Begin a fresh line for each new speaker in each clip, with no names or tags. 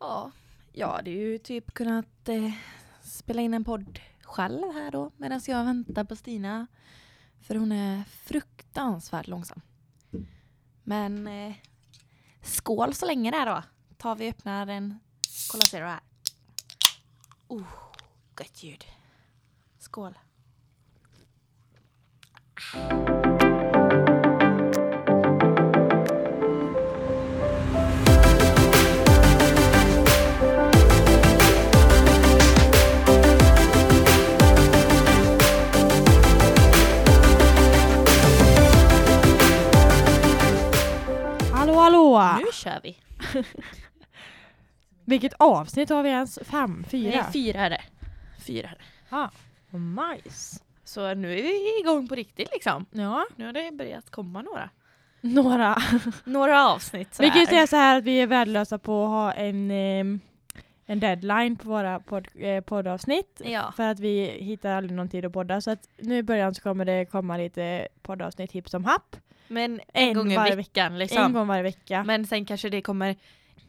Ja, jag hade ju typ kunnat eh, spela in en podd själv här då medan jag väntar på Stina. För hon är fruktansvärt långsam. Men eh, skål så länge där då. Tar vi och öppnar en Cola Zero här. Oh, gött ljud. Skål.
Hallå hallå!
Nu kör vi.
Vilket avsnitt har vi ens? Fem? Fyra?
Nej, fyra är det. Fyra är det.
oh, nice!
Så nu är vi igång på riktigt liksom.
Ja,
Nu har det börjat komma några.
några.
Några avsnitt så
vi kan ju
här.
säga så här att vi är värdelösa på att ha en, ehm, en deadline på våra pod, eh, poddavsnitt.
Ja.
För att vi hittar aldrig någon tid att podda. Så att nu i början så kommer det komma lite poddavsnitt hipp som happ.
Men en,
En
gång i
varje
veckan
En
liksom.
gång varje vecka.
Men sen kanske det kommer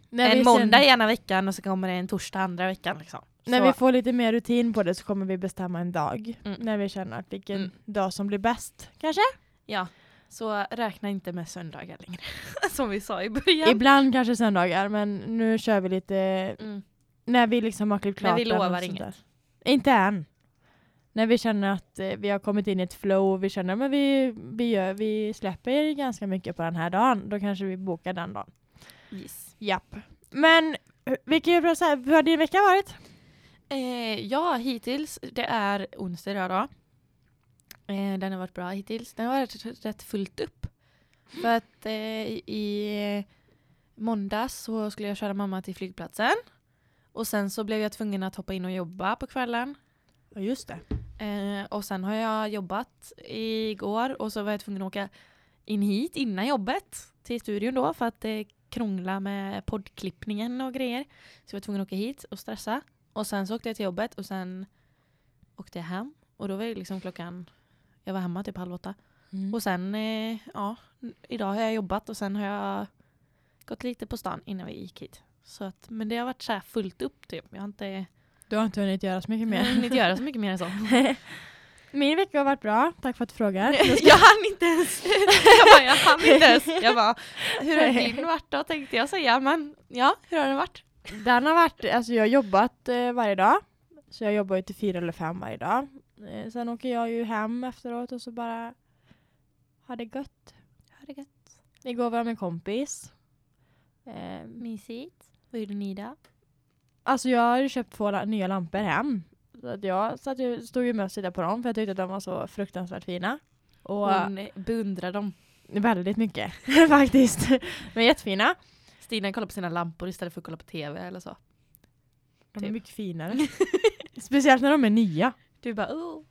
när vi
en
sen-
måndag i ena veckan och så kommer det en torsdag andra veckan liksom.
När
så,
vi får lite mer rutin på det så kommer vi bestämma en dag.
Mm.
När vi känner att vilken
Mm.
dag som blir bäst. Kanske?
ja. så räkna inte med söndagar längre. Som vi sa i början.
Ibland kanske söndagar men nu kör vi lite
Mm.
När vi liksom har klippt klart
Men vi
den och
lovar
sånt
inget.
där. Inte än. När vi känner att eh, vi har kommit in i ett flow och vi känner att vi, vi, gör- vi släpper ganska mycket på den här dagen, då kanske vi bokar den dagen.
Yes.
Japp. Men eh, vi kan ju börja så här, hur har din vecka varit?
Eh, ja, hittills. Det är onsdag idag då. Eh, den har varit bra hittills. Den har varit rätt, rätt fullt upp. För att eh, i- i eh, måndags så skulle jag köra mamma till flygplatsen. Och sen så blev jag tvungen att hoppa in och jobba på kvällen.
Ja just det.
Eh, och sen har jag jobbat igår och så var jag tvungen att åka in hit innan jobbet till studion då för att eh, krångla med poddklippningen och grejer. Så jag var tvungen att åka hit och stressa. Och sen så åkte jag till jobbet och sen åkte jag hem. Och då var det liksom klockan, jag var hemma typ halv åtta.
Mm.
Och sen, eh, ja, n- idag har jag jobbat och sen har jag gått lite på stan innan vi gick hit. Så att, men det har varit så här fullt upp typ. Jag har inte
Du har inte hunnit göra så mycket
jag har
mer.
hunnit göra så mycket mer än så.
Min vecka har varit bra, tack för att du frågar.
Jag hann inte ens. Jag bara, jag hann inte ens. Jag bara, hur har din varit då tänkte jag säga. Men ja, hur har den varit?
Den har varit, alltså jag har jobbat eh, varje dag. Så jag jobbar ju till fyra eller fem varje dag. Eh, sen åker jag ju hem efteråt och så bara har det gött. Igår var jag med en kompis. Eh,
Mysigt. Vad gjorde ni då?
alltså jag har ju köpt två la- nya lampor hem. Så att jag satt ju, stod ju med och tittade på dem för jag tyckte att de var så fruktansvärt fina. Och
Hon eh, beundrar dem.
väldigt mycket faktiskt. De är jättefina.
Stina kollar på sina lampor istället för att kolla på tv eller så.
De är
Typ.
mycket finare. Speciellt när de är nya.
Du bara, oh.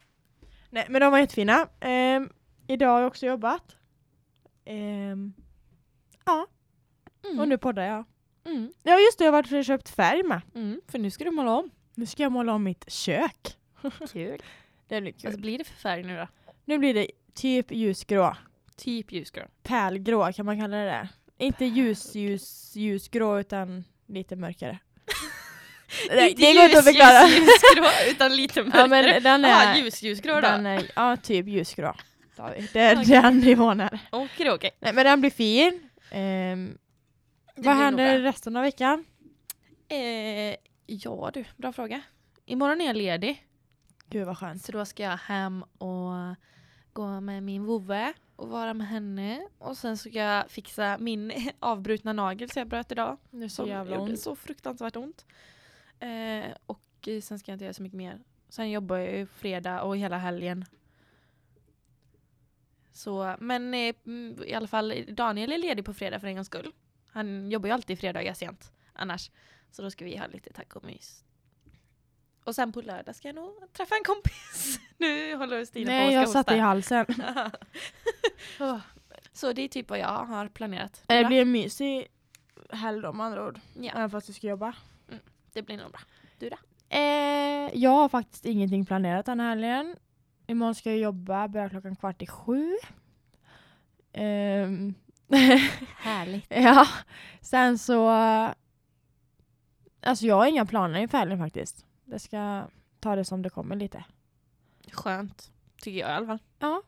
Nej, men de var jättefina. Ehm, idag har jag också jobbat. Ehm,
Mm.
Och nu poddar jag.
Mm.
Ja just det, jag har varit och köpt färg med.
Mm. För nu ska du måla om.
Nu ska jag måla om mitt kök.
Kul.
Det blir kul.
Vad Alltså, blir det för färg nu då?
nu blir det typ ljusgrå.
Typ ljusgrön.
Pärlgrå kan man kalla det där. Inte ljus, ljus, ljusgrå utan lite mörkare. det
Inte
det går inte att förklara.
Ljus, ljusgrå, utan lite mörkare.
ja men den
ah,
är,
ljus, ljusgrå då.
den är ja, typ ljusgrå. tar vi. Det är
Okej.
den nivån här.
Okej, okej.
Nej men den blir fin. Ehm,
Det blir
vad
nog bra.
händer resten av veckan?
Eh, ja du, bra fråga. Imorgon är jag ledig.
Gud vad skönt.
Så då ska jag hem och gå med min vovve och vara med henne. Och sen ska jag fixa min avbrutna nagel som jag bröt idag.
Nu
Som gjorde så fruktansvärt ont. Eh, och eh, sen ska jag inte göra så mycket mer. Sen jobbar jag ju fredag och hela helgen. Så, men eh, mm, i alla fall, Daniel är ledig på fredag för en gångs skull. Han jobbar ju alltid fredagar sent annars. Så då ska vi ha lite tacomys. Och sen på lördag ska jag nog träffa en kompis. Nu håller Stina
Nej
på
jag
och ska
satte i
hosta.
halsen.
Åh. så det är typ vad jag har planerat.
Det blir en mysig helg då med andra ord.
ja,
Även fast du ska jobba.
det blir nog bra.
Eh, jag har faktiskt ingenting planerat den här helgen. Imorgon ska jag jobba, börjar klockan kvart i sju. Ehm,
Härligt.
ja, sen så Alltså jag har inga planer inför helgen faktiskt. Jag ska ta det som det kommer lite.
Skönt, tycker jag i alla fall. Alltså,
Ja.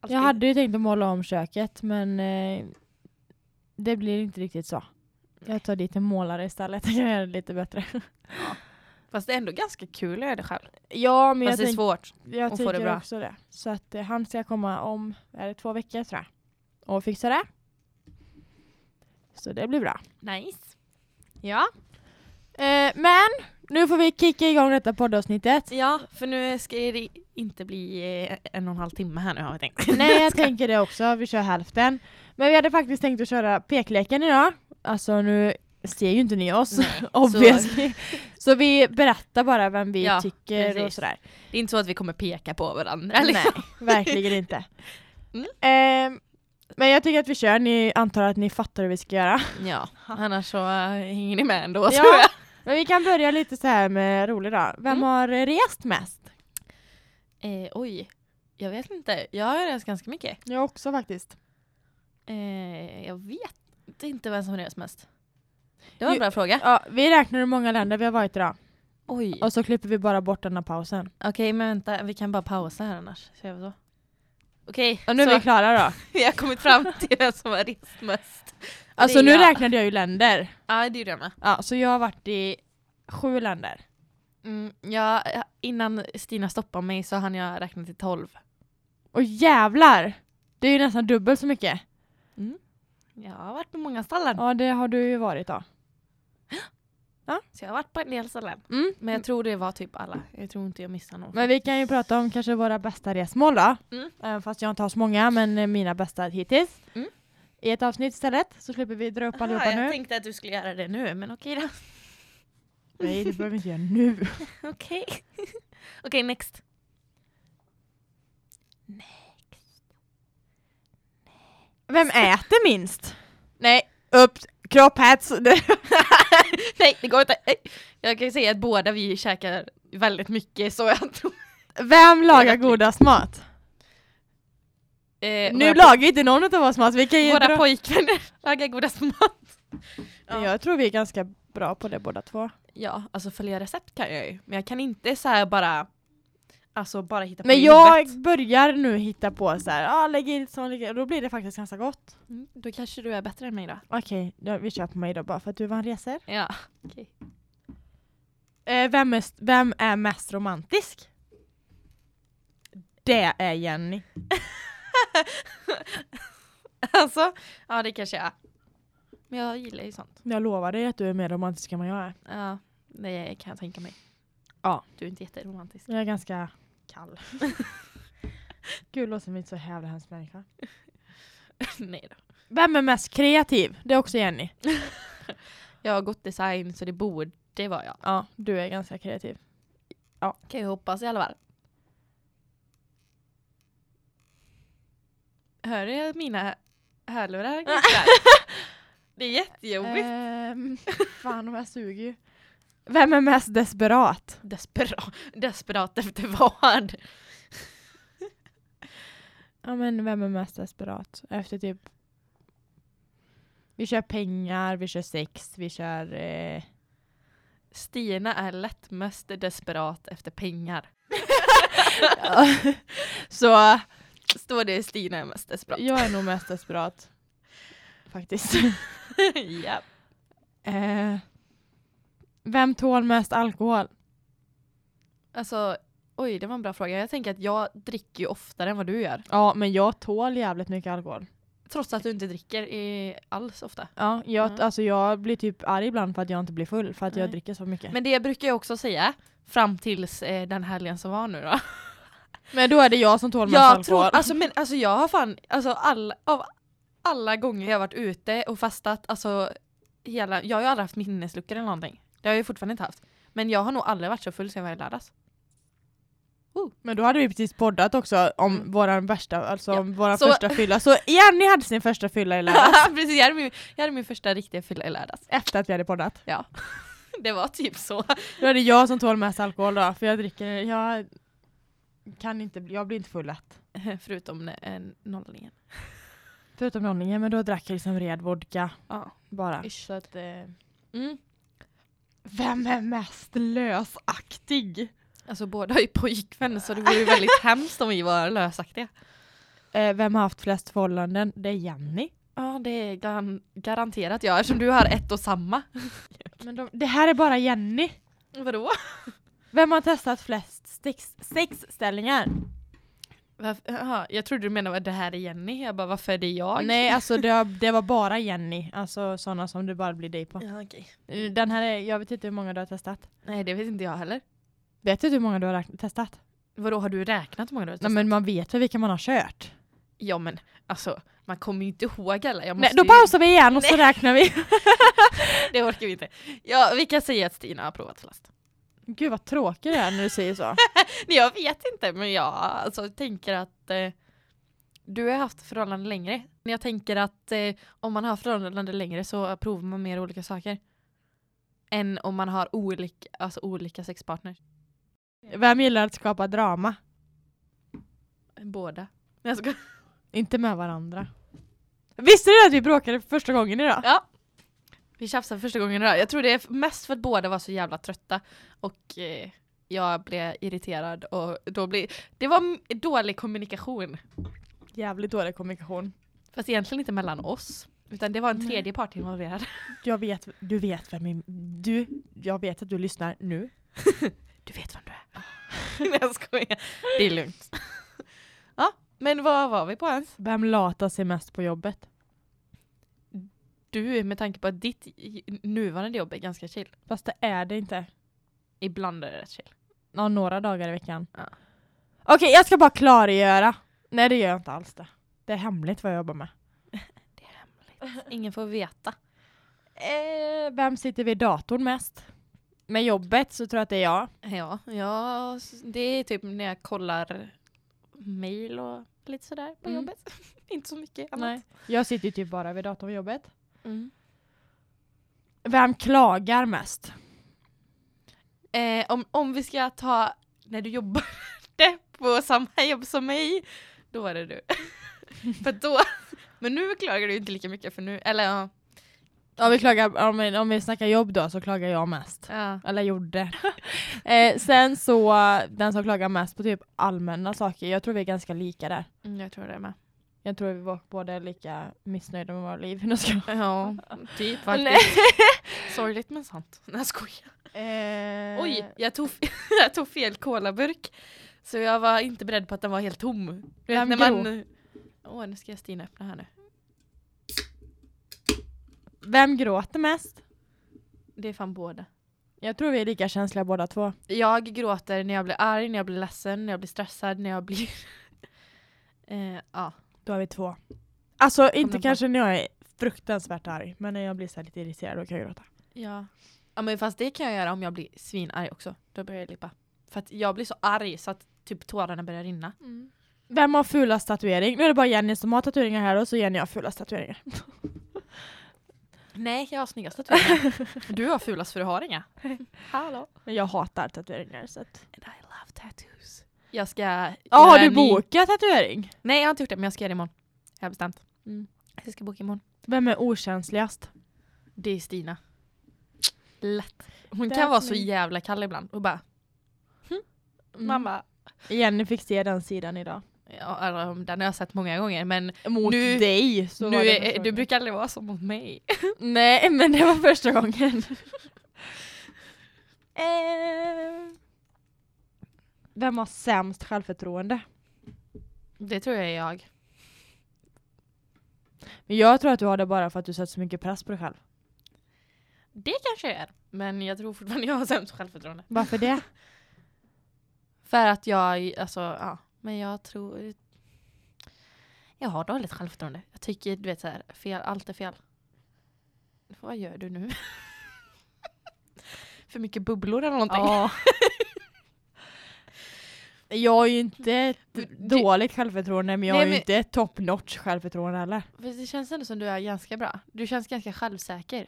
Alltid.
Jag hade ju tänkt att måla om köket men eh, det blir inte riktigt så. Jag tar dit en målare istället. Jag gör det lite bättre.
Fast det är ändå ganska kul att göra det själv.
Ja men
Fast det är
jag, tänk,
svårt.
jag
att få det
tycker
bra.
också det. Så att eh, han ska komma om är det två veckor tror jag. Och fixa det. Så det blir bra.
Nice.
Ja. Eh, men nu får vi kicka igång detta poddavsnittet.
Ja, för nu ska det inte bli eh, en och en halv timme här nu har vi tänkt.
Nej, jag tänker det också. Vi kör hälften. Men vi hade faktiskt tänkt att köra pekleken idag. Alltså nu ser ju inte ni oss, obviously. Så. vi berättar bara vem vi
Ja,
tycker och
precis.
sådär.
Det är inte så att vi kommer peka på varandra liksom.
Nej, verkligen inte.
Mm.
Ehm, men jag tycker att vi kör. Ni antar att ni fattar hur vi ska göra.
Ja, annars så eh, hänger ni med ändå tror
Ja.
jag.
Men vi kan börja lite så här med rolig då. Vem
Mm.
har rest mest?
Eh, oj, jag vet inte. Jag har rest ganska mycket.
Jag också faktiskt.
Eh, jag vet inte vem som har rest mest. Det var en
Jo-
bra fråga.
Ja, vi räknar hur många länder vi har varit idag.
Oj,
Och så klipper vi bara bort den här pausen.
okej men vänta vi kan bara pausa här annars. Så gör vi så. Okej,
Och nu är vi
så
klara då.
vi har kommit fram till vem som har rest mest.
Alltså
Det är
nu
jag.
räknade jag ju länder.
Ja, det gjorde jag med.
Ja, så jag har varit i sju länder.
Mm, ja, innan Stina stoppade mig så hann jag räkna till 12.
Och jävlar! Det är ju nästan dubbelt så mycket.
Jag har varit på många ställen.
Ja, det har du ju varit då.
Så jag har varit på en del ställen.
Mm.
Men jag tror det var typ alla. Jag tror inte jag missade någon.
Men vi kan ju prata om kanske våra bästa resmål då.
Mm.
Även fast jag inte har så många, men eh, mina bästa hittills.
Mm.
I ett avsnitt istället, så slipper vi dra upp allihopa
jag
nu.
tänkte att du skulle göra det nu, men okej då.
Nej, det behöver vi inte göra nu.
Okej. okej, next.
Vem äter minst? Nej, upp! Kropp, hets.
Nej, det går inte. Nej. Jag kan ju säga att båda vi käkar väldigt mycket så jag tror...
Vem lagar
Jäkligt.
godast mat?
Eh,
Nu
våra,
lagar ju inte någon av oss mat, vi kan ju
våra
dra...
pojkvänner lagar godast mat. Ja.
Jag tror vi är ganska bra på det båda två.
Ja, alltså följa recept kan jag ju. Men jag kan inte så här bara... Alltså bara hitta på i
Men jag
huvudet.
börjar nu hitta på så här, ah, lägg i lite sån, lägg i, och då blir det faktiskt ganska gott.
Mm, Då kanske du är bättre än mig då.
Okej, då, vi kör på mig då bara för att du vann resor.
Ja.
Eh, vem, är, vem är mest romantisk? Det är Jenny.
Alltså, ja det kanske jag är. Men jag gillar ju sånt.
Jag lovar dig att du är mer romantisk än vad jag är.
Ja, det kan jag tänka mig.
Ja.
Du är inte jätteromantisk.
Jag är ganska kall. Gud, låter mig inte så jävla hemsk människa.
Nej då.
Vem är mest kreativ? Det är också Jenny.
Jag har gått design så det borde vara jag.
Ja, du är ganska kreativ.
Kan jag hoppas i alla fall. Hör du mina hörlurar gnisslar? Det är jättejobbigt.
Ehm, fan, vad jag suger ju. Vem är mest desperat?
Desperat, desperat efter vad?
Ja men vem är mest desperat? Efter typ Vi kör pengar, vi kör sex, vi kör eh...
Stina är lätt mest desperat efter pengar.
Så
Står det Stina är mest desperat?
jag är nog mest desperat Faktiskt
ja.
eh... Vem tål mest alkohol?
Alltså, oj det var en bra fråga. Jag tänker att jag dricker ju oftare än vad du gör.
Ja men jag tål jävligt mycket alkohol
Trots att du inte dricker eh, alls ofta.
Ja, jag,
Ja.
alltså jag blir typ arg ibland för att jag inte blir full för att jag
Nej.
dricker så mycket men,
Men det brukar jag också säga. Fram tills eh, den helgen som var nu då.
då är det jag som tål mest
Jag
alkohol
tror, alltså, men, alltså jag har fan, alltså all, av alla gånger jag har varit ute och fastat, alltså hela, jag har ju aldrig haft minnesluckor eller någonting. Det har jag ju fortfarande inte haft. Men jag har nog aldrig varit så full sen jag var i lördags.
Men då hade vi precis poddat också om
Mm.
våran värsta, alltså
Ja.
om våran
Så-
första fylla. Så Jenny hade sin första fylla i lördags
Precis, jag hade, min, jag hade min första riktiga fylla i lördags.
efter att vi hade poddat.
Det var typ så.
Då är det jag som tål mest alkohol då, för jag dricker, jag kan inte, jag blir inte full lätt.
Förutom eh, nollningen.
Förutom nollningen, men då drack jag liksom red vodka
Ja.
bara.
Ish.
Så att, eh,
Mm.
Vem är mest lösaktig?
Alltså båda har ju pojkvän så det vore ju väldigt hemskt om vi var lösaktiga.
Eh, vem har haft flest förhållanden? Det är Jenny.
Ja det är gan- garanterat jag eftersom du har ett och samma.
Men de, det här är bara Jenny.
Vadå?
Vem har testat flest sex, sexställningar?
Jaha, jag trodde du menade att det här är Jenny. Jag bara varför är det jag?
Nej, alltså det, har- det var bara Jenny. Alltså sådana som det bara blir dig på.
Ja, okej.
Eh, Den här är, jag vet inte hur många du har testat.
Nej det vet inte jag heller.
Vet du hur många du har räkn- testat?
Vadå har du räknat hur många du har
Nej
testat?
men man vet väl vilka man har kört?
Ja men alltså man kommer ju inte ihåg alla. Jag
Nej,
måste
då
ju-
pausar vi igen och så räknar vi.
Det orkar vi inte. Ja, vi kan säga att Stina har provat flest.
Gud vad tråkig det är när du säger så.
Nej, jag vet inte men jag alltså, tänker att eh, du har haft förhållande längre. Men jag tänker att eh, om man har förhållande längre så provar man mer olika saker. Än om man har olika, alltså, olika sexpartners.
Vem gillar att skapa drama?
Båda. Nej, jag skojar.
Inte med varandra. Visste du att vi bråkade för första gången idag?
Ja. Vi tjafsade första gången idag. Jag tror det är mest för att båda var så jävla trötta. Och eh, jag blev irriterad och då blev... Det var m- dålig kommunikation.
Jävligt dålig kommunikation.
Fast egentligen inte mellan oss. Utan det var en
Nej.
tredje part involverad.
Jag vet, du vet vem min, du, jag vet att du lyssnar nu.
Du vet vem du är. Nej jag skojar. Det är lugnt. ja, men vad var vi på ens?
Vem latar sig mest på jobbet?
Du, med tanke på att ditt i- nuvarande jobb är ganska chill.
Fast det är det inte.
Ibland är det rätt chill.
Ja, några dagar i veckan.
Ja.
Okej, jag ska bara klargöra. Nej, det gör jag inte alls det. Det är hemligt vad jag jobbar med.
Ingen får veta.
Eh, vem sitter vid datorn mest? Med jobbet så tror jag att det är jag.
Ja, ja, s- det är typ när jag kollar mail och lite sådär på
Mm.
jobbet. Inte så mycket annat.
Nej. Jag sitter ju typ bara vid datorn vid jobbet.
Mm.
Vem klagar mest?
Eh, om, om vi ska ta när du jobbade på samma jobb som mig, då var det du. för då, men nu klagar du ju inte lika mycket för nu, eller ja.
Om vi, klagar, om, vi- om vi snackar jobb då så klagar jag mest.
ja.
Eller gjorde. eh, sen så, den som klagar mest på typ allmänna saker, jag tror vi är ganska lika där.
Mm, jag tror det med.
Jag tror vi var båda lika missnöjda med våra liv. Nu ska jag-
Ja, typ
Nej.
faktiskt. Sorgligt men sant. Nej jag skojar.
Eh,
Oj, jag tog, f- jag tog fel kolaburk. Så jag var inte beredd på att den var helt tom. Du vet,
Vem
när man... Åh, nu ska jag Stina öppna här nu.
Vem gråter mest?
Det är fan båda.
Jag tror vi är lika känsliga båda två.
Jag gråter när jag blir arg, när jag blir ledsen, när jag blir stressad, när jag blir... eh, ja.
Då är vi två. Alltså inte
bara-
kanske när jag är fruktansvärt arg, men när jag blir så här lite irriterad då kan jag gråta.
ja. Ja men fast det kan jag göra om jag blir svinarg också. Då börjar jag lippa. För att jag blir så arg så att typ tårarna börjar rinna.
Vem har fulast tatuering? Nu är det bara Jenny som har tatueringar här och så Jenny har fulast tatueringar.
Nej, jag har snyggast tatueringar. du har fulast för du har inga. Hallå.
Men jag hatar tatueringar så att...
And I love tattoos. Jag ska... Ja,
Ja, har du bokat tatuering?
Nej, jag har inte gjort det men jag ska göra det imorgon. Jag har bestämt.
Mm.
Jag ska boka imorgon.
Vem är okänsligast?
Det är Stina. Lätt. Hon
That's
kan vara så
me.
jävla kall ibland och bara "Hm?" Mamma.
Jenny fick se den sidan idag.
Ja, eller, den har jag sett många gånger men
Mot
Nu-
dig! Så
nu
var det
är,
första
du
gången.
brukar aldrig vara så mot mig.
Nej, men det var första gången. Eh,
Ehm.
Vem har sämst självförtroende?
Det tror jag är jag.
Men Jag tror att du har det bara för att du sätter så mycket press på dig själv.
Det kanske jag är. Men jag tror fortfarande jag har sämst självförtroende.
Varför det?
För att jag, alltså ja. Men jag tror... Jag har dåligt självförtroende. Jag tycker du vet så här, fel, allt är fel. Vad gör du nu? För mycket bubblor eller någonting.
Ja. Jag har ju inte ett
Du-
dåligt självförtroende men jag
Nej,
har ju
men-
inte ett top notch självförtroende heller.
Fast Det känns ändå som du är ganska bra. Du känns ganska självsäker.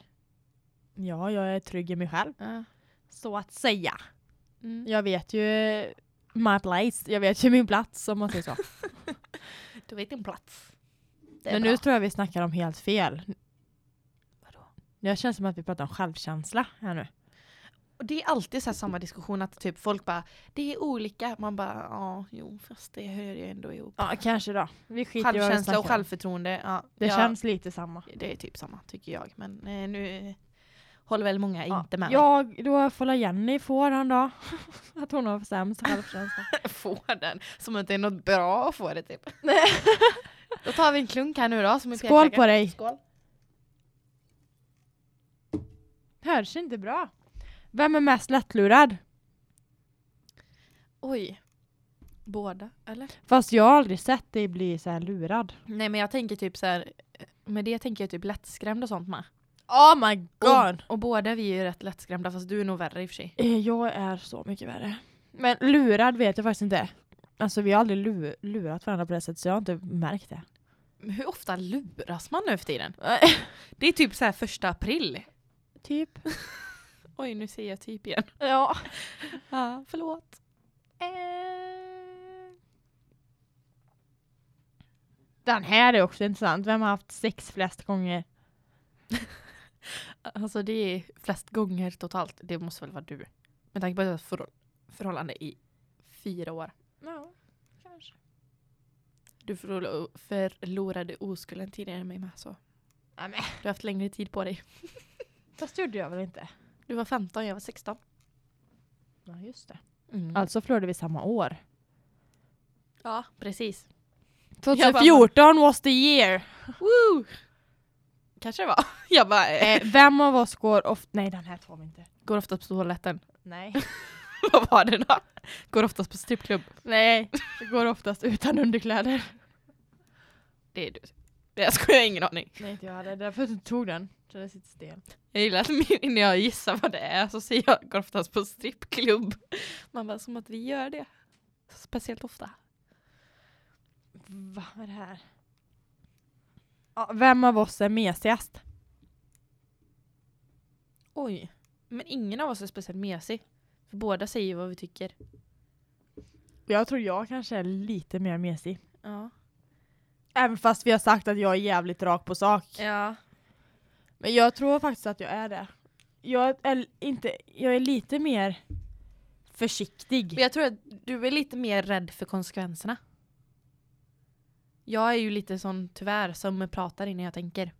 Ja, jag är trygg i mig själv.
Ja.
Så att säga.
Mm.
Jag vet ju my place, jag vet ju min plats om man säger så.
Du vet din plats. Det är
Men
bra.
nu tror jag vi snackar om helt fel.
Vadå?
Jag känns som att vi pratar om självkänsla här nu.
Och det är alltid så här samma diskussion att typ folk bara, det är olika. Man bara, ja, jo, fast det hör ju ändå ihop.
Ja, kanske då. Vi skiter i vad vi
Självkänsla och
snackar om.
självförtroende, ja.
Det
ja,
känns lite samma.
Det är typ samma, tycker jag. Men eh, nu håller väl många inte med mig.
Jag, då får la Jenny får han då. att hon har sämst självkänsla.
Får den, som inte är något bra att få det typ. Då tar vi en klunk här nu då. Som är
Skål
peklägga.
på dig!
Skål.
Hörs inte bra. Vem är mest lättlurad?
Oj. Båda, eller?
Fast jag har aldrig sett dig bli så här lurad.
Nej men jag tänker typ så här, med det tänker jag typ lättskrämd och sånt med.
Oh my
Och, och båda vi är ju rätt lättskrämda fast du är nog värre i och för sig.
Eh, Jag är så mycket värre. Men lurad vet jag faktiskt inte. Alltså vi har aldrig lu- lurat varandra på det sättet så jag har inte märkt det.
Men Hur ofta luras man nu för tiden? Det är typ så här första april.
typ.
Oj, nu säger jag typ igen.
Ja.
Ja, förlåt.
Eh. Den här är också intressant. Vem har haft sex flest gånger?
Alltså det är flest gånger totalt. Det måste väl vara du. Med tanke på att jag har förhå- förhållande i fyra år.
Ja, kanske.
Du förlo- förlorade oskulden tidigare än mig med så.
Nej, men.
Du har haft längre tid på dig.
Fast gjorde jag väl inte?
Du var 15, jag var 16.
Ja, just det.
Mm.
Alltså förlorade vi samma år.
Ja, precis. Jag bara-
2014 was the year!
Woo! Kanske det var. Jag bara, eh,
Eh, vem av oss går ofta... Nej, den här tar vi inte.
går oftast på toaletten.
Nej.
Vad var det då? Går oftast på strippklubb.
Nej, det går oftast utan underkläder.
Det är du. Det jag skojar, jag har ingen aning.
Nej, inte jag heller. Därför jag tog den. Så det sitter stel.
Jag gillar att min- när jag gissar vad det är så säger jag går oftast på strippklubb. Man bara, som att vi gör det. Speciellt ofta.
Va, vad är det här? Ja, vem av oss är mesigast?
Oj. Men ingen av oss är speciellt mesig. För båda säger ju vad vi tycker.
Jag tror jag kanske är lite mer mesig.
Ja.
Även fast vi har sagt att jag är jävligt rak på sak.
Ja.
Men jag tror faktiskt att jag är det. Jag är, inte, jag är lite mer försiktig.
Men jag tror att du är lite mer rädd för konsekvenserna. Jag är ju lite sån tyvärr som pratar innan jag tänker.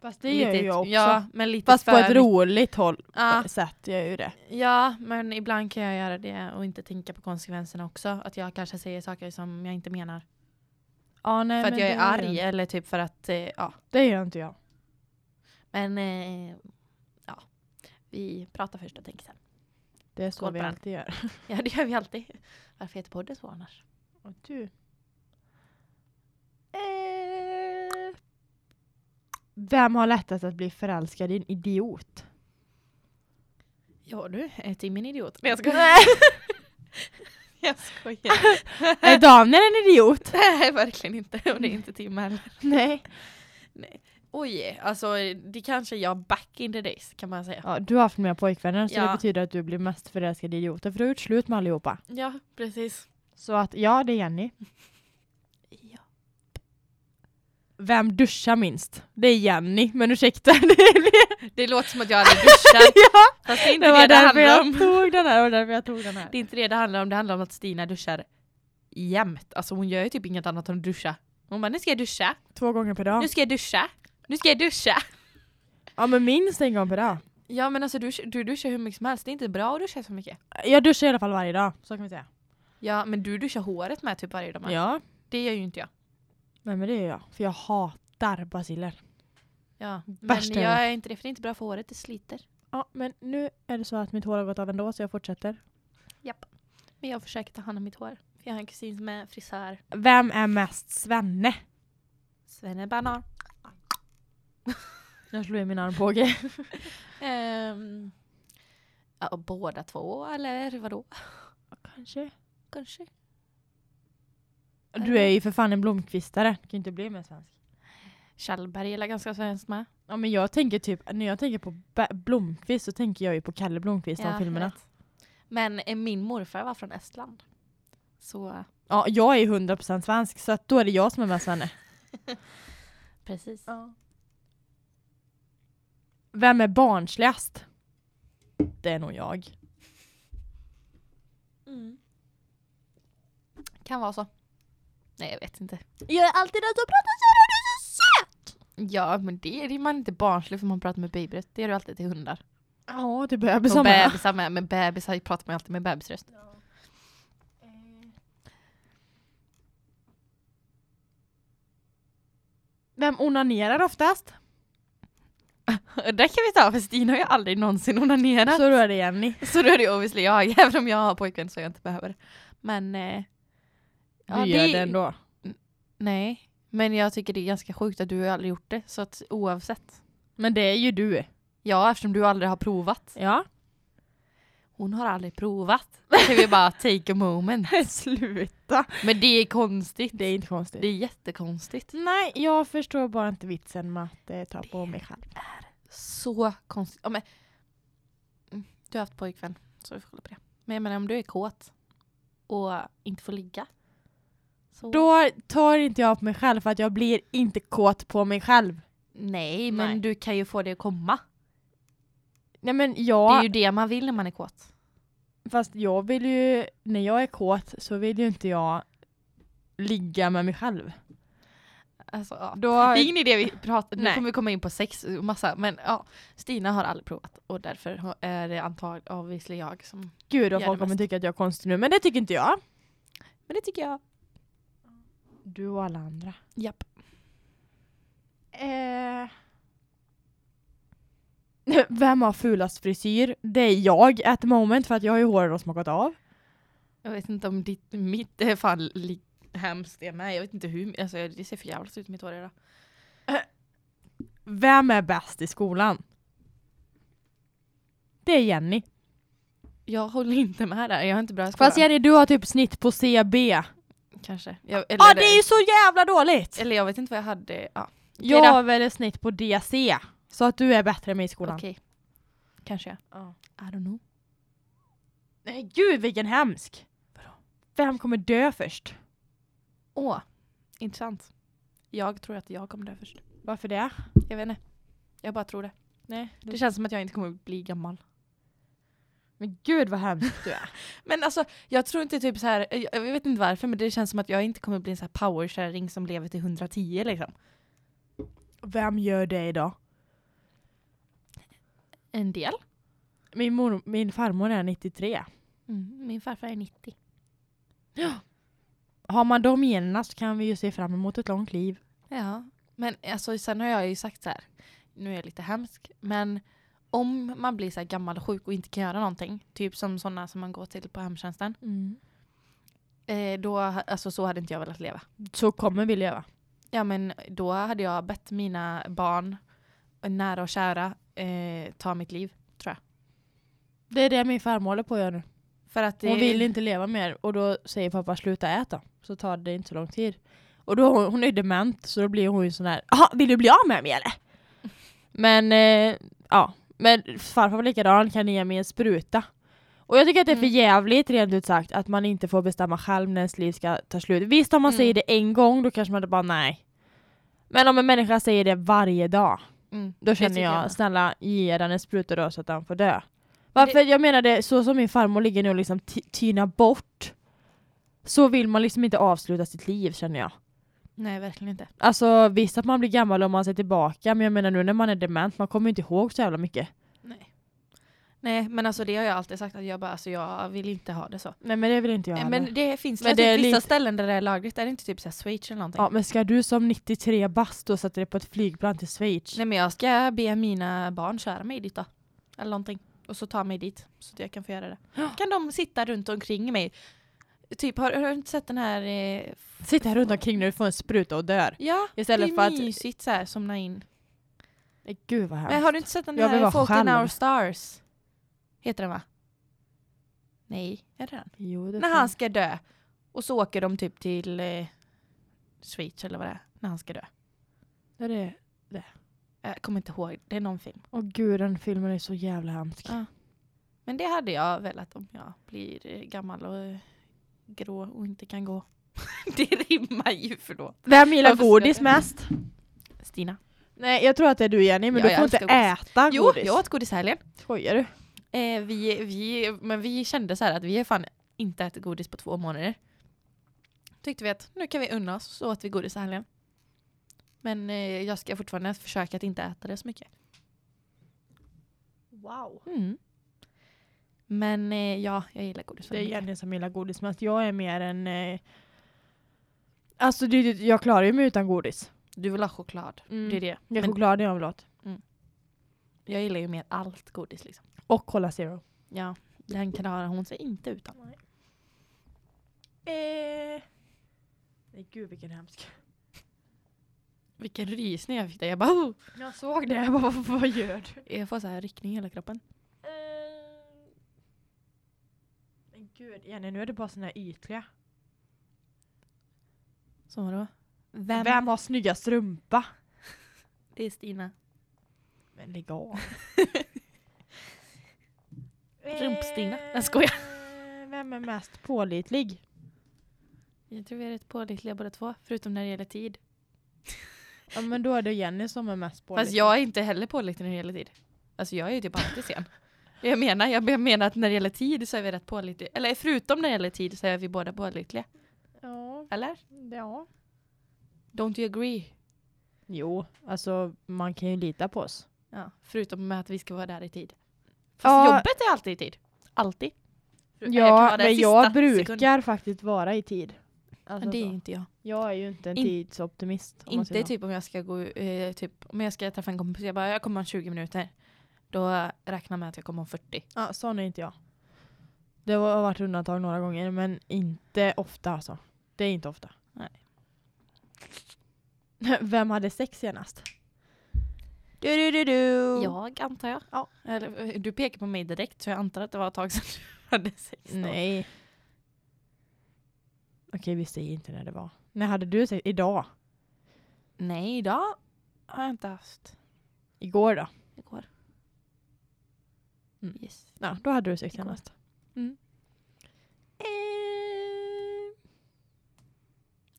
Fast det gör
lite,
ju jag också.
Ja, men lite
Fast på
för
ett roligt håll
Ja,
sätt gör jag ju det.
ja, men ibland kan jag göra det och inte tänka på konsekvenserna också. Att jag kanske säger saker som jag inte menar.
Ja, nej,
för att
men
jag är
det gör
arg
inte-
eller typ för att, eh, ja.
Det gör inte jag.
Men, eh, ja. Vi pratar först och tänker sen.
Det är så
Skål
vi
på den.
alltid gör.
Ja, det gör vi alltid. Varför heter podden så annars?
Och du? Eh. Vem har lättast att bli förälskad i en idiot?
Ja du, är Tim en idiot? Nej, jag skojar.
Nej,
jag skojar.
är Daniel en idiot?
Nej, verkligen inte. Och det är inte Tim heller.
Nej.
Oj, alltså det kanske jag back in the days kan man säga.
Ja, du har haft mer pojkvänner så
Ja.
det betyder att du blir mest förälskad i idioter för du har gjort slut med allihopa.
Ja, precis.
Så att ja, det är Jenny.
Ja.
Vem duschar minst? Det är Jenny, men ursäkta. Det, blir-
Det låter som att jag aldrig duschar.
ja,
Fast det är inte
det
det det,
var därför
handlar
jag
om.
tog den här. Det var därför jag tog den här.
Det är inte det det handlar om. Det handlar om att Stina duschar jämt. Alltså hon gör ju typ inget annat än att duscha. Hon bara nu ska jag duscha,
Två gånger per dag.
nu ska jag duscha, nu ska jag duscha.
Ja, men minst en gång per dag.
Ja men alltså du, du duschar hur mycket som helst. Det är inte bra att duscha så mycket.
Jag duschar i alla fall varje dag, så kan vi säga.
Ja men du duschar håret med typ varje dag. med.
Ja.
Det gör ju inte jag.
Nej men det gör jag, för jag hatar basiller.
Ja. Men
Värsta jag
jag är inte det för det är inte bra för håret, det sliter.
Ja, men nu är det så att mitt hår har gått av ändå så jag fortsätter.
Men jag försöker ta hand om mitt hår. För jag har en kusin som är frisör.
Vem är mest svenne?
Svennebanan.
Jag slår i min armbåge.
Ehm, ja, och båda två eller vadå?
Kanske.
Kanske.
Du är ju för fan en blomkvistare. Du kan ju inte bli mer svensk.
Kjellberg är ganska svenskt med.
Ja men jag tänker typ, när jag tänker på Be- Blomkvist så tänker jag ju på Kalle Blomkvist av
Ja, jag
filmerna.
vet. Men eh, min morfar var från Estland. Så eh,
Ja, jag är ju 100% svensk så att då är det jag som är mest svenne.
precis.
Vem är barnsligast? Det är nog jag.
Mm. Kan vara så. Nej jag vet inte.
Jag är alltid den som pratar så här och du är så söt!
Ja men det är det är man inte barnslig för man pratar med babröst. Det gör du alltid till hundar.
Ja, till
Och
bebisar med.
bebisar med. Men bebisar pratar man ju alltid med bebisröst.
Vem onanerar oftast?
Det där kan vi ta för Stina har ju aldrig någonsin onanerat.
Så då är det Jenny.
Så då är det ju obviously jag, även om jag har pojkvän så jag inte behöver. Men... Eh,
du gör det ändå.
Nej. Men jag tycker det är ganska sjukt att du har aldrig gjort det. Så att oavsett.
Men det är ju du.
Ja, eftersom du aldrig har provat.
Ja.
Hon har aldrig provat. Då kan vi bara take a moment.
Sluta.
Men det är konstigt.
Det är inte konstigt.
Det är jättekonstigt.
Nej, jag förstår bara inte vitsen med att eh, ta på mig själv.
Så konstigt. Ja, men, Mm, du har haft pojkvän, så vi får kolla på det. Men jag menar om du är kåt och inte får ligga. Så...
Då tar inte jag på mig själv för att jag blir inte kåt på mig själv.
Nej, men
Nej.
du kan ju få det att komma.
Nej men
Det är
jag,
ju det man vill när man är kåt.
fast jag vill ju, när jag är kåt så vill ju inte jag ligga med mig själv.
Alltså, ja.
Då,
Det är ingen idé vi pratar, nu
Nej.
kommer vi komma in på sex och massa, men ja. Stina har aldrig provat och därför har- är det antagligen obviously jag som...
gud
gör
och
det
folk kommer
bäst.
tycka att jag är konstig nu, men det tycker inte jag.
Men det tycker jag.
Du och alla andra.
Japp.
Eh. Vem har fulast frisyr? Det är jag at the moment för att jag har ju håret och smakat av.
Jag vet inte om ditt, mitt är fan li- hemskt det med. Jag vet inte hur, alltså jag- det ser för jävligt ut mitt hår idag.
Vem är bäst i skolan? Det är Jenny.
Jag håller inte med där, jag har inte bra skola.
Fast Jenny, du har typ snitt på CB. Ja,
Kanske. Jag, eller,
ah, det är ju så jävla dåligt!
eller jag vet inte vad jag hade, ja.
Jag har väl ett snitt på DC. Så att du är bättre än mig i skolan.
Okej. Kanske jag.
Ja.
I don't know.
Nej gud vilken hemsk! Vem kommer dö först?
Åh, intressant. Jag tror att jag kommer dö först.
Varför det?
Jag vet inte. Jag bara tror det.
Nej.
Det känns som att jag inte kommer bli gammal.
Men gud vad hemskt du är.
Men alltså, jag tror inte typ så här, jag, jag vet inte varför, men det känns som att jag inte kommer bli en så här powerkärring som lever till 110 liksom.
Vem gör det idag?
En del.
Min, mor, min farmor är 93.
Mm, min farfar är 90.
Har man de generna så kan vi ju se fram emot ett långt liv.
Ja, men alltså, sen har jag ju sagt så här, nu är jag lite hemsk, men om man blir så här gammal och sjuk och inte kan göra någonting, typ som sådana som man går till på hemtjänsten,
Mm.
eh, då, alltså så hade inte jag velat leva.
Så kommer vi leva.
Ja men då hade jag bett mina barn, nära och kära, eh, ta mitt liv.
Det är det min farmor håller på att göra nu.
För att det,
Hon vill inte leva mer och då säger pappa sluta äta. Så tar det inte så lång tid. Och då hon, hon är dement så då blir hon ju sån här, jaha vill du bli av med mig eller? Men eh, ja, men farfar var likadan, kan ni ge mig en spruta? Och jag tycker att det är för
Mm.
jävligt rent ut sagt att man inte får bestämma själv när ens liv ska ta slut. Visst om man
Mm.
säger det en gång då kanske man bara nej. Men om en människa säger det varje dag
Mm,
då
det
känner
tycker
jag,
med.
snälla ge den en spruta då så att han får dö. Varför, jag menar det, så som min farmor ligger nu och liksom ty- tynar bort så vill man liksom inte avsluta sitt liv känner jag.
Nej verkligen inte.
Alltså visst att man blir gammal om man ser tillbaka men jag menar nu när man är dement man kommer ju inte ihåg så jävla mycket.
Nej. Nej men alltså det har jag alltid sagt att jag bara, alltså jag vill inte ha det så.
Nej men det vill inte jag
Eh,
heller.
Men det finns
Men
väl
det är
typ vissa
lite-
ställen där det är lagligt, är det inte typ så här Schweiz eller någonting?
Ja men ska du som 93 bast då sätta dig på ett flygplan till Schweiz?
Nej men jag ska be mina barn köra mig dit då. Eller någonting. Och så ta mig dit så att jag kan få göra det.
Ja.
Kan de sitta runt omkring mig? Typ, har, har du inte sett den här eh,
Sitta här runt omkring när du får en spruta och dör.
Ja,
Istället
det är
för att-
mysigt så här, somna in.
Nej, Gud vad hemskt.
Men har du inte sett den
Jag vill
här 14
vara själv.
hour stars? Heter den va? Nej, är det den?
Jo, det
När
tror
han ska dö. Och så åker de typ till eh, Schweiz eller vad det är. När han ska dö.
jag. det är...
Jag kommer inte ihåg, det är någon film.
Åh gud den filmen är så jävla hemsk.
Ja. Men det hade jag velat om jag blir eh, gammal och eh, grå och inte kan gå. det rimmar ju förlåt.
Vem gillar
Varför
godis
ska jag-
mest?
Stina.
Nej jag tror att det är du Jenny men
Ja,
du
jag
får inte
älskar
äta
Jo,
godis.
jag åt godis i helgen.
Skojar du?
Eh, vi, vi, men vi kände så här att vi har fan inte ätit godis på två månader. Tyckte vi att nu kan vi unna oss så att vi godis i helgen. Men eh, jag ska fortfarande försöka att inte äta det så mycket.
Wow.
Mm. Men eh, ja, jag gillar godis.
Det är
väldigt mycket.
Jenny som gillar godis, men att jag är mer en... Eh... Alltså, det, det- jag klarar ju mig utan godis.
Du vill ha choklad.
Mm.
Det är det.
Det är
Men-
choklad jag vill åt.
Jag gillar ju mer allt godis liksom.
Och Cola Zero.
Ja, den klarar hon sig inte utan.
Eh... Nej, gud vilken hemsk.
Vilken rysning jag fick där. Jag bara oh!
Jag såg det, jag bara, vad, vad gör du?
Jag får så här ryckning i hela kroppen.
Eh. Men gud, Jenny, nu är det bara såna här ytliga.
Så vadå?
Vem,
Vem?
har snygga strumpa?
Det är Stina.
Men lägg av.
Rumpstina. Jag skojar.
Eh, Vem är mest pålitlig?
Jag tror vi är rätt pålitliga båda två. Förutom när det gäller tid.
Ja men då är det Jenny som är mest pålitlig.
Fast jag är inte heller pålitlig när det gäller tid. Alltså jag är ju typ alltid sen. Jag menar, jag menar att när det gäller tid så är vi rätt pålitliga. Eller förutom när det gäller tid så är vi båda pålitliga.
Ja,
Eller?
ja.
Don't you agree?
Jo, alltså man kan ju lita på oss.
Ja. Förutom med att vi ska vara där i tid. Fast
Ja.
jobbet är alltid i tid. Alltid. Jag kan
Ja,
vara där
men
sista
jag brukar
sekunden.
faktiskt vara i tid. Alltså,
Men det är
så.
ju inte jag.
Jag är ju inte en
In-
tidsoptimist. om man
Inte
säger så.
typ om jag ska gå eh, typ om jag ska träffa en kompis jag bara jag kommer om 20 minuter. Då räknar jag med att jag kommer om 40.
Ja, sån är inte jag. Det har varit undantag några gånger, men inte ofta alltså. Det är inte ofta.
Nej.
Vem hade sex senast? Du, du, du, du.
Jag antar jag.
Ja.
Eller, eh, du pekar på mig direkt så jag antar att det var ett tag sedan du hade sex. då.
Nej. Okej, vi säger inte när det var. När hade du sex? Idag?
Nej, idag har jag inte haft.
Igår då?
Igår.
Mm.
Yes.
Ja, då hade du sex
Igår.
senast.
Mm. Eh.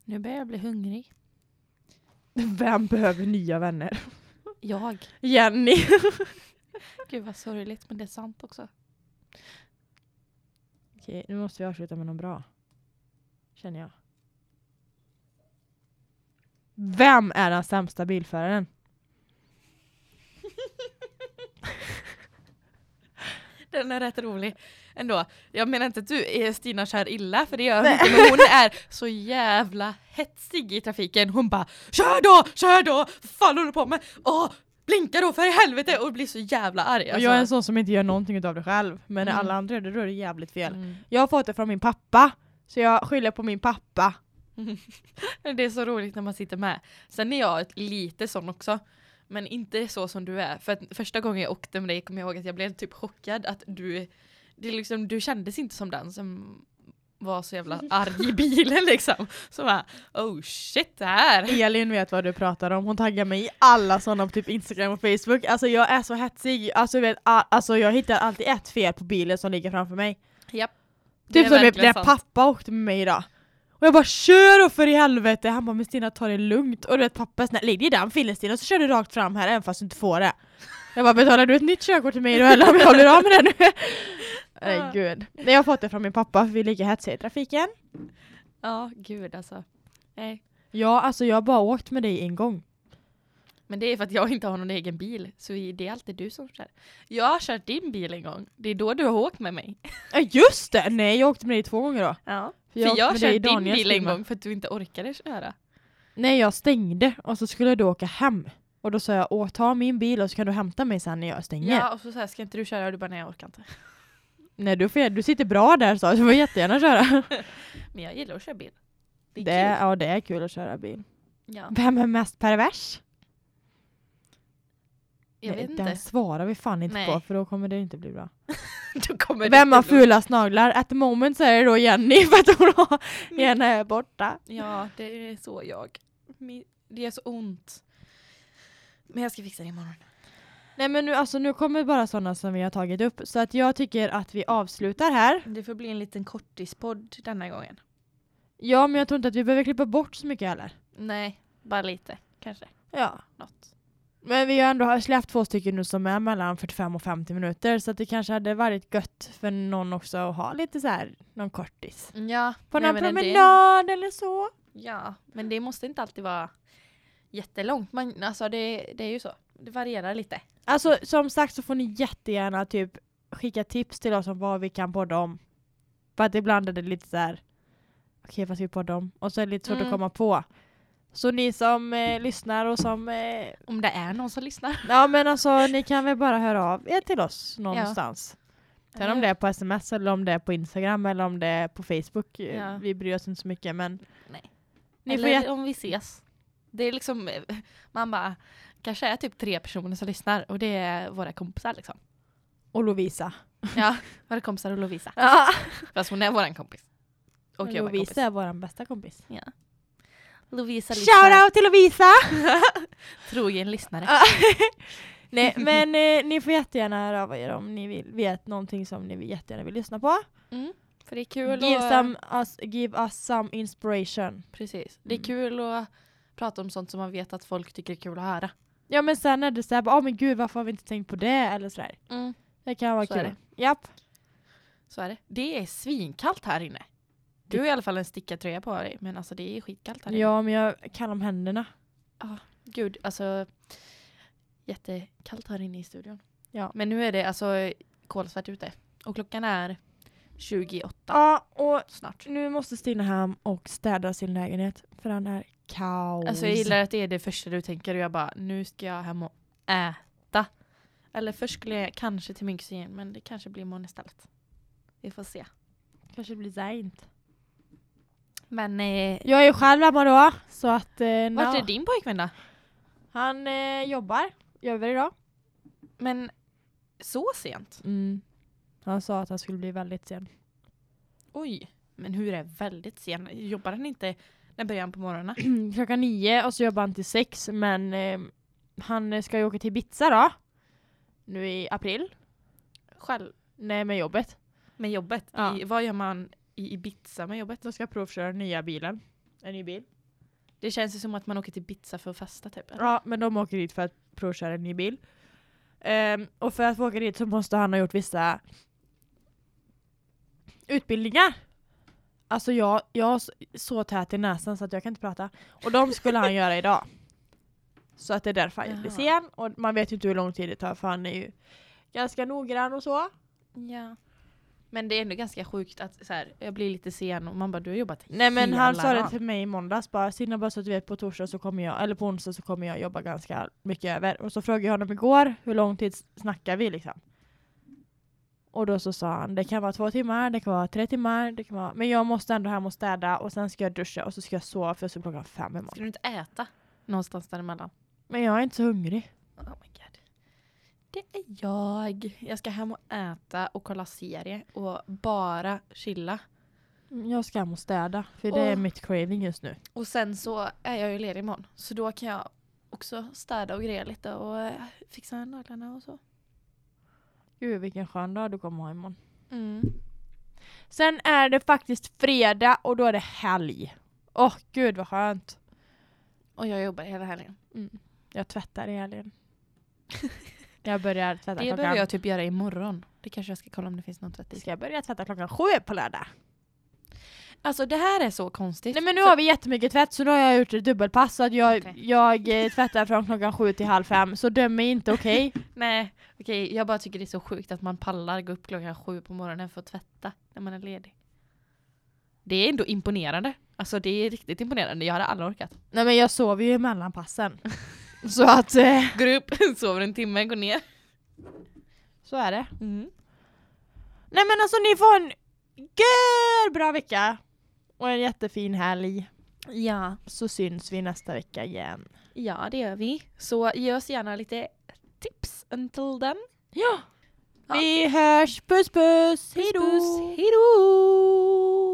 Nu börjar jag bli hungrig.
Vem behöver nya vänner?
Jag.
Jenny.
Gud vad sorgligt men det är sant också.
Okej, nu måste vi avsluta med något bra. Känner jag. Vem är den sämsta bilföraren?
Den är rätt rolig ändå. Jag menar inte att du är Stina kör illa, för det gör hon inte, men hon är så jävla hetsig i trafiken. Hon bara kör då, kör då, vad fan håller du på med? Åh, blinka då för i helvete! Och blir så jävla arg.
Och
Alltså.
jag är en sån som inte gör någonting utav det själv. Men när
Mm.
alla andra gör det, då är det jävligt fel.
Mm.
Jag har fått det från min pappa. Så jag skyller på min pappa.
Men Det är så roligt när man sitter med. Sen är jag ett- lite sån också. Men inte så som du är. För att första gången jag åkte med dig kom jag ihåg att jag blev typ chockad att du, det är liksom, du kändes inte som den som var så jävla arg i bilen liksom. Så bara, oh shit det här.
Elin vet vad du pratar om, hon taggar mig i alla sådana på typ Instagram och Facebook. Alltså jag är så hetsig, alltså, jag vet, a- alltså jag hittar alltid ett fel på bilen som ligger framför mig.
Japp. Det är
Typ som när
verkligen
när
sant.
pappa åkte med mig idag. Och jag bara kör då för i helvete! Han bara men Stina ta det lugnt. Och du vet pappa snälla lägg dig i den filen Stina så kör du rakt fram här även fast du inte får det. Jag bara betalar du ett nytt körkort till mig då eller om jag blir av med det nu? Nej
Ja.
gud. Nej, Jag har fått det från min pappa för vi är lika hetsiga i trafiken.
Ja, gud alltså. Nej.
Ja alltså jag har bara åkt med dig en gång.
Men det är för att jag inte har någon egen bil. Så det är alltid du som kör. Jag har kört din bil en gång. Det är då du har åkt med mig.
Ja just det! Nej jag åkte med dig två gånger då.
Ja. För
jag
jag,
åkte
jag
med dig i
körde din
Daniels
bil en
bil med.
gång för att du inte orkade köra.
Nej jag stängde och så skulle du åka hem. Och då sa jag åh ta min bil och så kan du hämta mig sen när jag stänger.
Ja, och så säger jag, ska inte du köra? Och du bara, nej jag orkar inte.
Nej du, får, du sitter bra där sa jag, du får jättegärna köra.
Men jag gillar att köra bil. Det
Det
är
det, ja det är kul att köra bil.
kul. Ja,
Vem är mest pervers?
jag
Nej,
vet
den
inte.
svarar vi fan inte
Nej.
på för då kommer det inte bli bra.
Då kommer det
Vem har
till-
fulast naglar? At the moment så är det då Jenny för att hon har,
Mm.
ena är borta.
Ja, det är så jag. Mi- Det gör så ont. Men jag ska fixa det imorgon.
Nej men nu, alltså, nu kommer bara sådana som vi har tagit upp. Så att jag tycker att vi avslutar här.
Det får bli en liten kortispodd denna gången.
Ja men jag tror inte att vi behöver klippa bort så mycket heller.
Nej, bara lite kanske.
Ja.
Något.
Men vi har ändå släppt två stycken nu som är mellan 45 och 50 minuter så att det kanske hade varit gött för någon också att ha lite så här någon kortis.
Ja,
På
nej,
någon
men det-
promenad eller så.
Ja, men det måste inte alltid vara jättelångt. Man, alltså det, det är ju så. Det varierar lite.
Alltså som sagt så får ni jättegärna typ skicka tips till oss om vad vi kan podda om. För att ibland är det lite så här. okej vad ska vi podda om? Och så är det lite svårt
Mm.
att komma på. Så ni som eh, lyssnar och som, eh,
Om det är någon som lyssnar.
ja men alltså ni kan väl bara höra av er till oss någonstans. Sen om det är på sms eller om det är på Instagram eller om det är på Facebook. eh,
Ja.
Vi bryr oss inte så mycket men
Nej.
ni
Eller
får jätte-
om vi ses. Det är liksom, eh, man bara, kanske är typ tre personer som lyssnar och det är våra kompisar liksom.
Och Lovisa.
Ja, våra kompisar och Lovisa. Fast hon är våran kompis. Och jag är kompis.
Lovisa är vår bästa kompis.
Lovisa lyssnar,
Shoutout till Lovisa!
trogen lyssnare.
Nej, men eh, ni får jättegärna höra av er om ni vill, vet någonting som ni jättegärna vill lyssna på.
För Mm. det är kul
Give,
att-
some, us, give us some inspiration.
Precis. Det är
Mm.
kul att prata om sånt som man vet att folk tycker är kul att höra.
Ja men sen är det såhär, åh men gud varför har vi inte tänkt på det? Eller sådär.
Mm.
Det kan vara
Så är
kul. Japp.
Så är det. Det är svinkallt här inne. Du har i alla fall en stickad tröja på dig, men alltså det är skitkallt här inne.
Ja men jag kan om händerna.
Gud, alltså jättekallt här inne i studion.
Ja.
Men nu är det alltså kolsvart ute och klockan är 28
Ja och
snart.
nu måste Stina hem och städa sin lägenhet. För den är kaos.
Alltså jag gillar att det är det första du tänker och jag bara nu ska jag hem och äta. Eller först skulle jag kanske till min kusin men det kanske blir imorgon istället. Vi får se.
Kanske blir sent.
Men eh,
Jag är ju själv hemma då. Så att eh,
vart
no.
är din pojkvän då?
Han eh, jobbar. Jobbar idag.
Men så sent?
Mm. Han sa att han skulle bli väldigt sen.
Oj. Men hur är väldigt sen? Jobbar han inte när början på morgonen?
klockan nio och så jobbar han till sex men eh, han ska ju åka till Ibiza då. Nu i april.
Själv
Nej med jobbet.
med jobbet?
Ja.
I, vad gör man i Ibiza med jobbet?
Då ska jag provköra den nya bilen. En ny bil.
Det känns ju som att man åker till Ibiza för att festa typ. eller?
Ja men de åker dit för att provköra en ny bil. Ehm, och för att få åka dit så måste han ha gjort vissa utbildningar. Alltså jag, jag har s- så tät i näsan så att jag kan inte prata. Och de skulle han göra idag. Så att det är därför han blir
Jaha.
sen. Och man vet ju inte hur lång tid det tar för han är ju ganska noggrann och så.
Ja. Men det är ändå ganska sjukt att så här, jag blir lite sen och man bara du har jobbat
Nej men
hela
han sa det
dagen.
till mig i måndags bara Sina bara så att du vet på torsdag så kommer jag, eller på onsdag så kommer jag jobba ganska mycket över. Och så frågade jag honom igår hur lång tid snackar vi liksom? Och då så sa han det kan vara två timmar, det kan vara tre timmar, det kan vara... Men jag måste ändå hem och städa och sen ska jag duscha och så ska jag sova för jag ska klockan fem imorgon.
Ska du inte äta någonstans däremellan?
Men jag är inte så hungrig.
Oh my god. Det är jag. Jag ska hem och äta och kolla serie och bara chilla.
Mm, Jag ska hem och städa för det är
Åh.
mitt craving just nu.
Och sen så är jag ju ledig imorgon så då kan jag också städa och greja lite och eh, fixa naglarna och så.
Gud vilken skön dag du kommer ha imorgon.
Mm.
Sen är det faktiskt fredag och då är det helg. Åh gud vad skönt.
Och jag jobbar hela helgen.
Jag tvättar i helgen. jag börjar tvätta
Det
klockan...
behöver jag typ göra imorgon. Det kanske jag ska kolla om det finns någon 30.
Ska jag börja tvätta klockan sju på lördag?
Alltså det här är så konstigt.
Nej men nu har vi jättemycket tvätt så nu har jag gjort ett dubbelpass så att jag,
Okej.
jag eh, tvättar från klockan sju till halv fem så döm mig inte okej?
Nej, okej. jag bara tycker det är så sjukt att man pallar gå upp klockan sju på morgonen för att tvätta när man är ledig. Det är ändå imponerande. Alltså det är riktigt imponerande. Jag hade aldrig orkat.
Nej men jag sover ju mellan passen. så att... Eh,
Går upp, sover en timme, går ner.
så är det.
Mm.
Nej men alltså ni får en gör bra vecka! Och en jättefin helg.
Ja.
Så syns vi nästa vecka igen.
ja, det gör vi. Så ge oss gärna lite tips until then.
Ja! Vi hörs, puss puss!
Hej
Hejdå!
Hej då!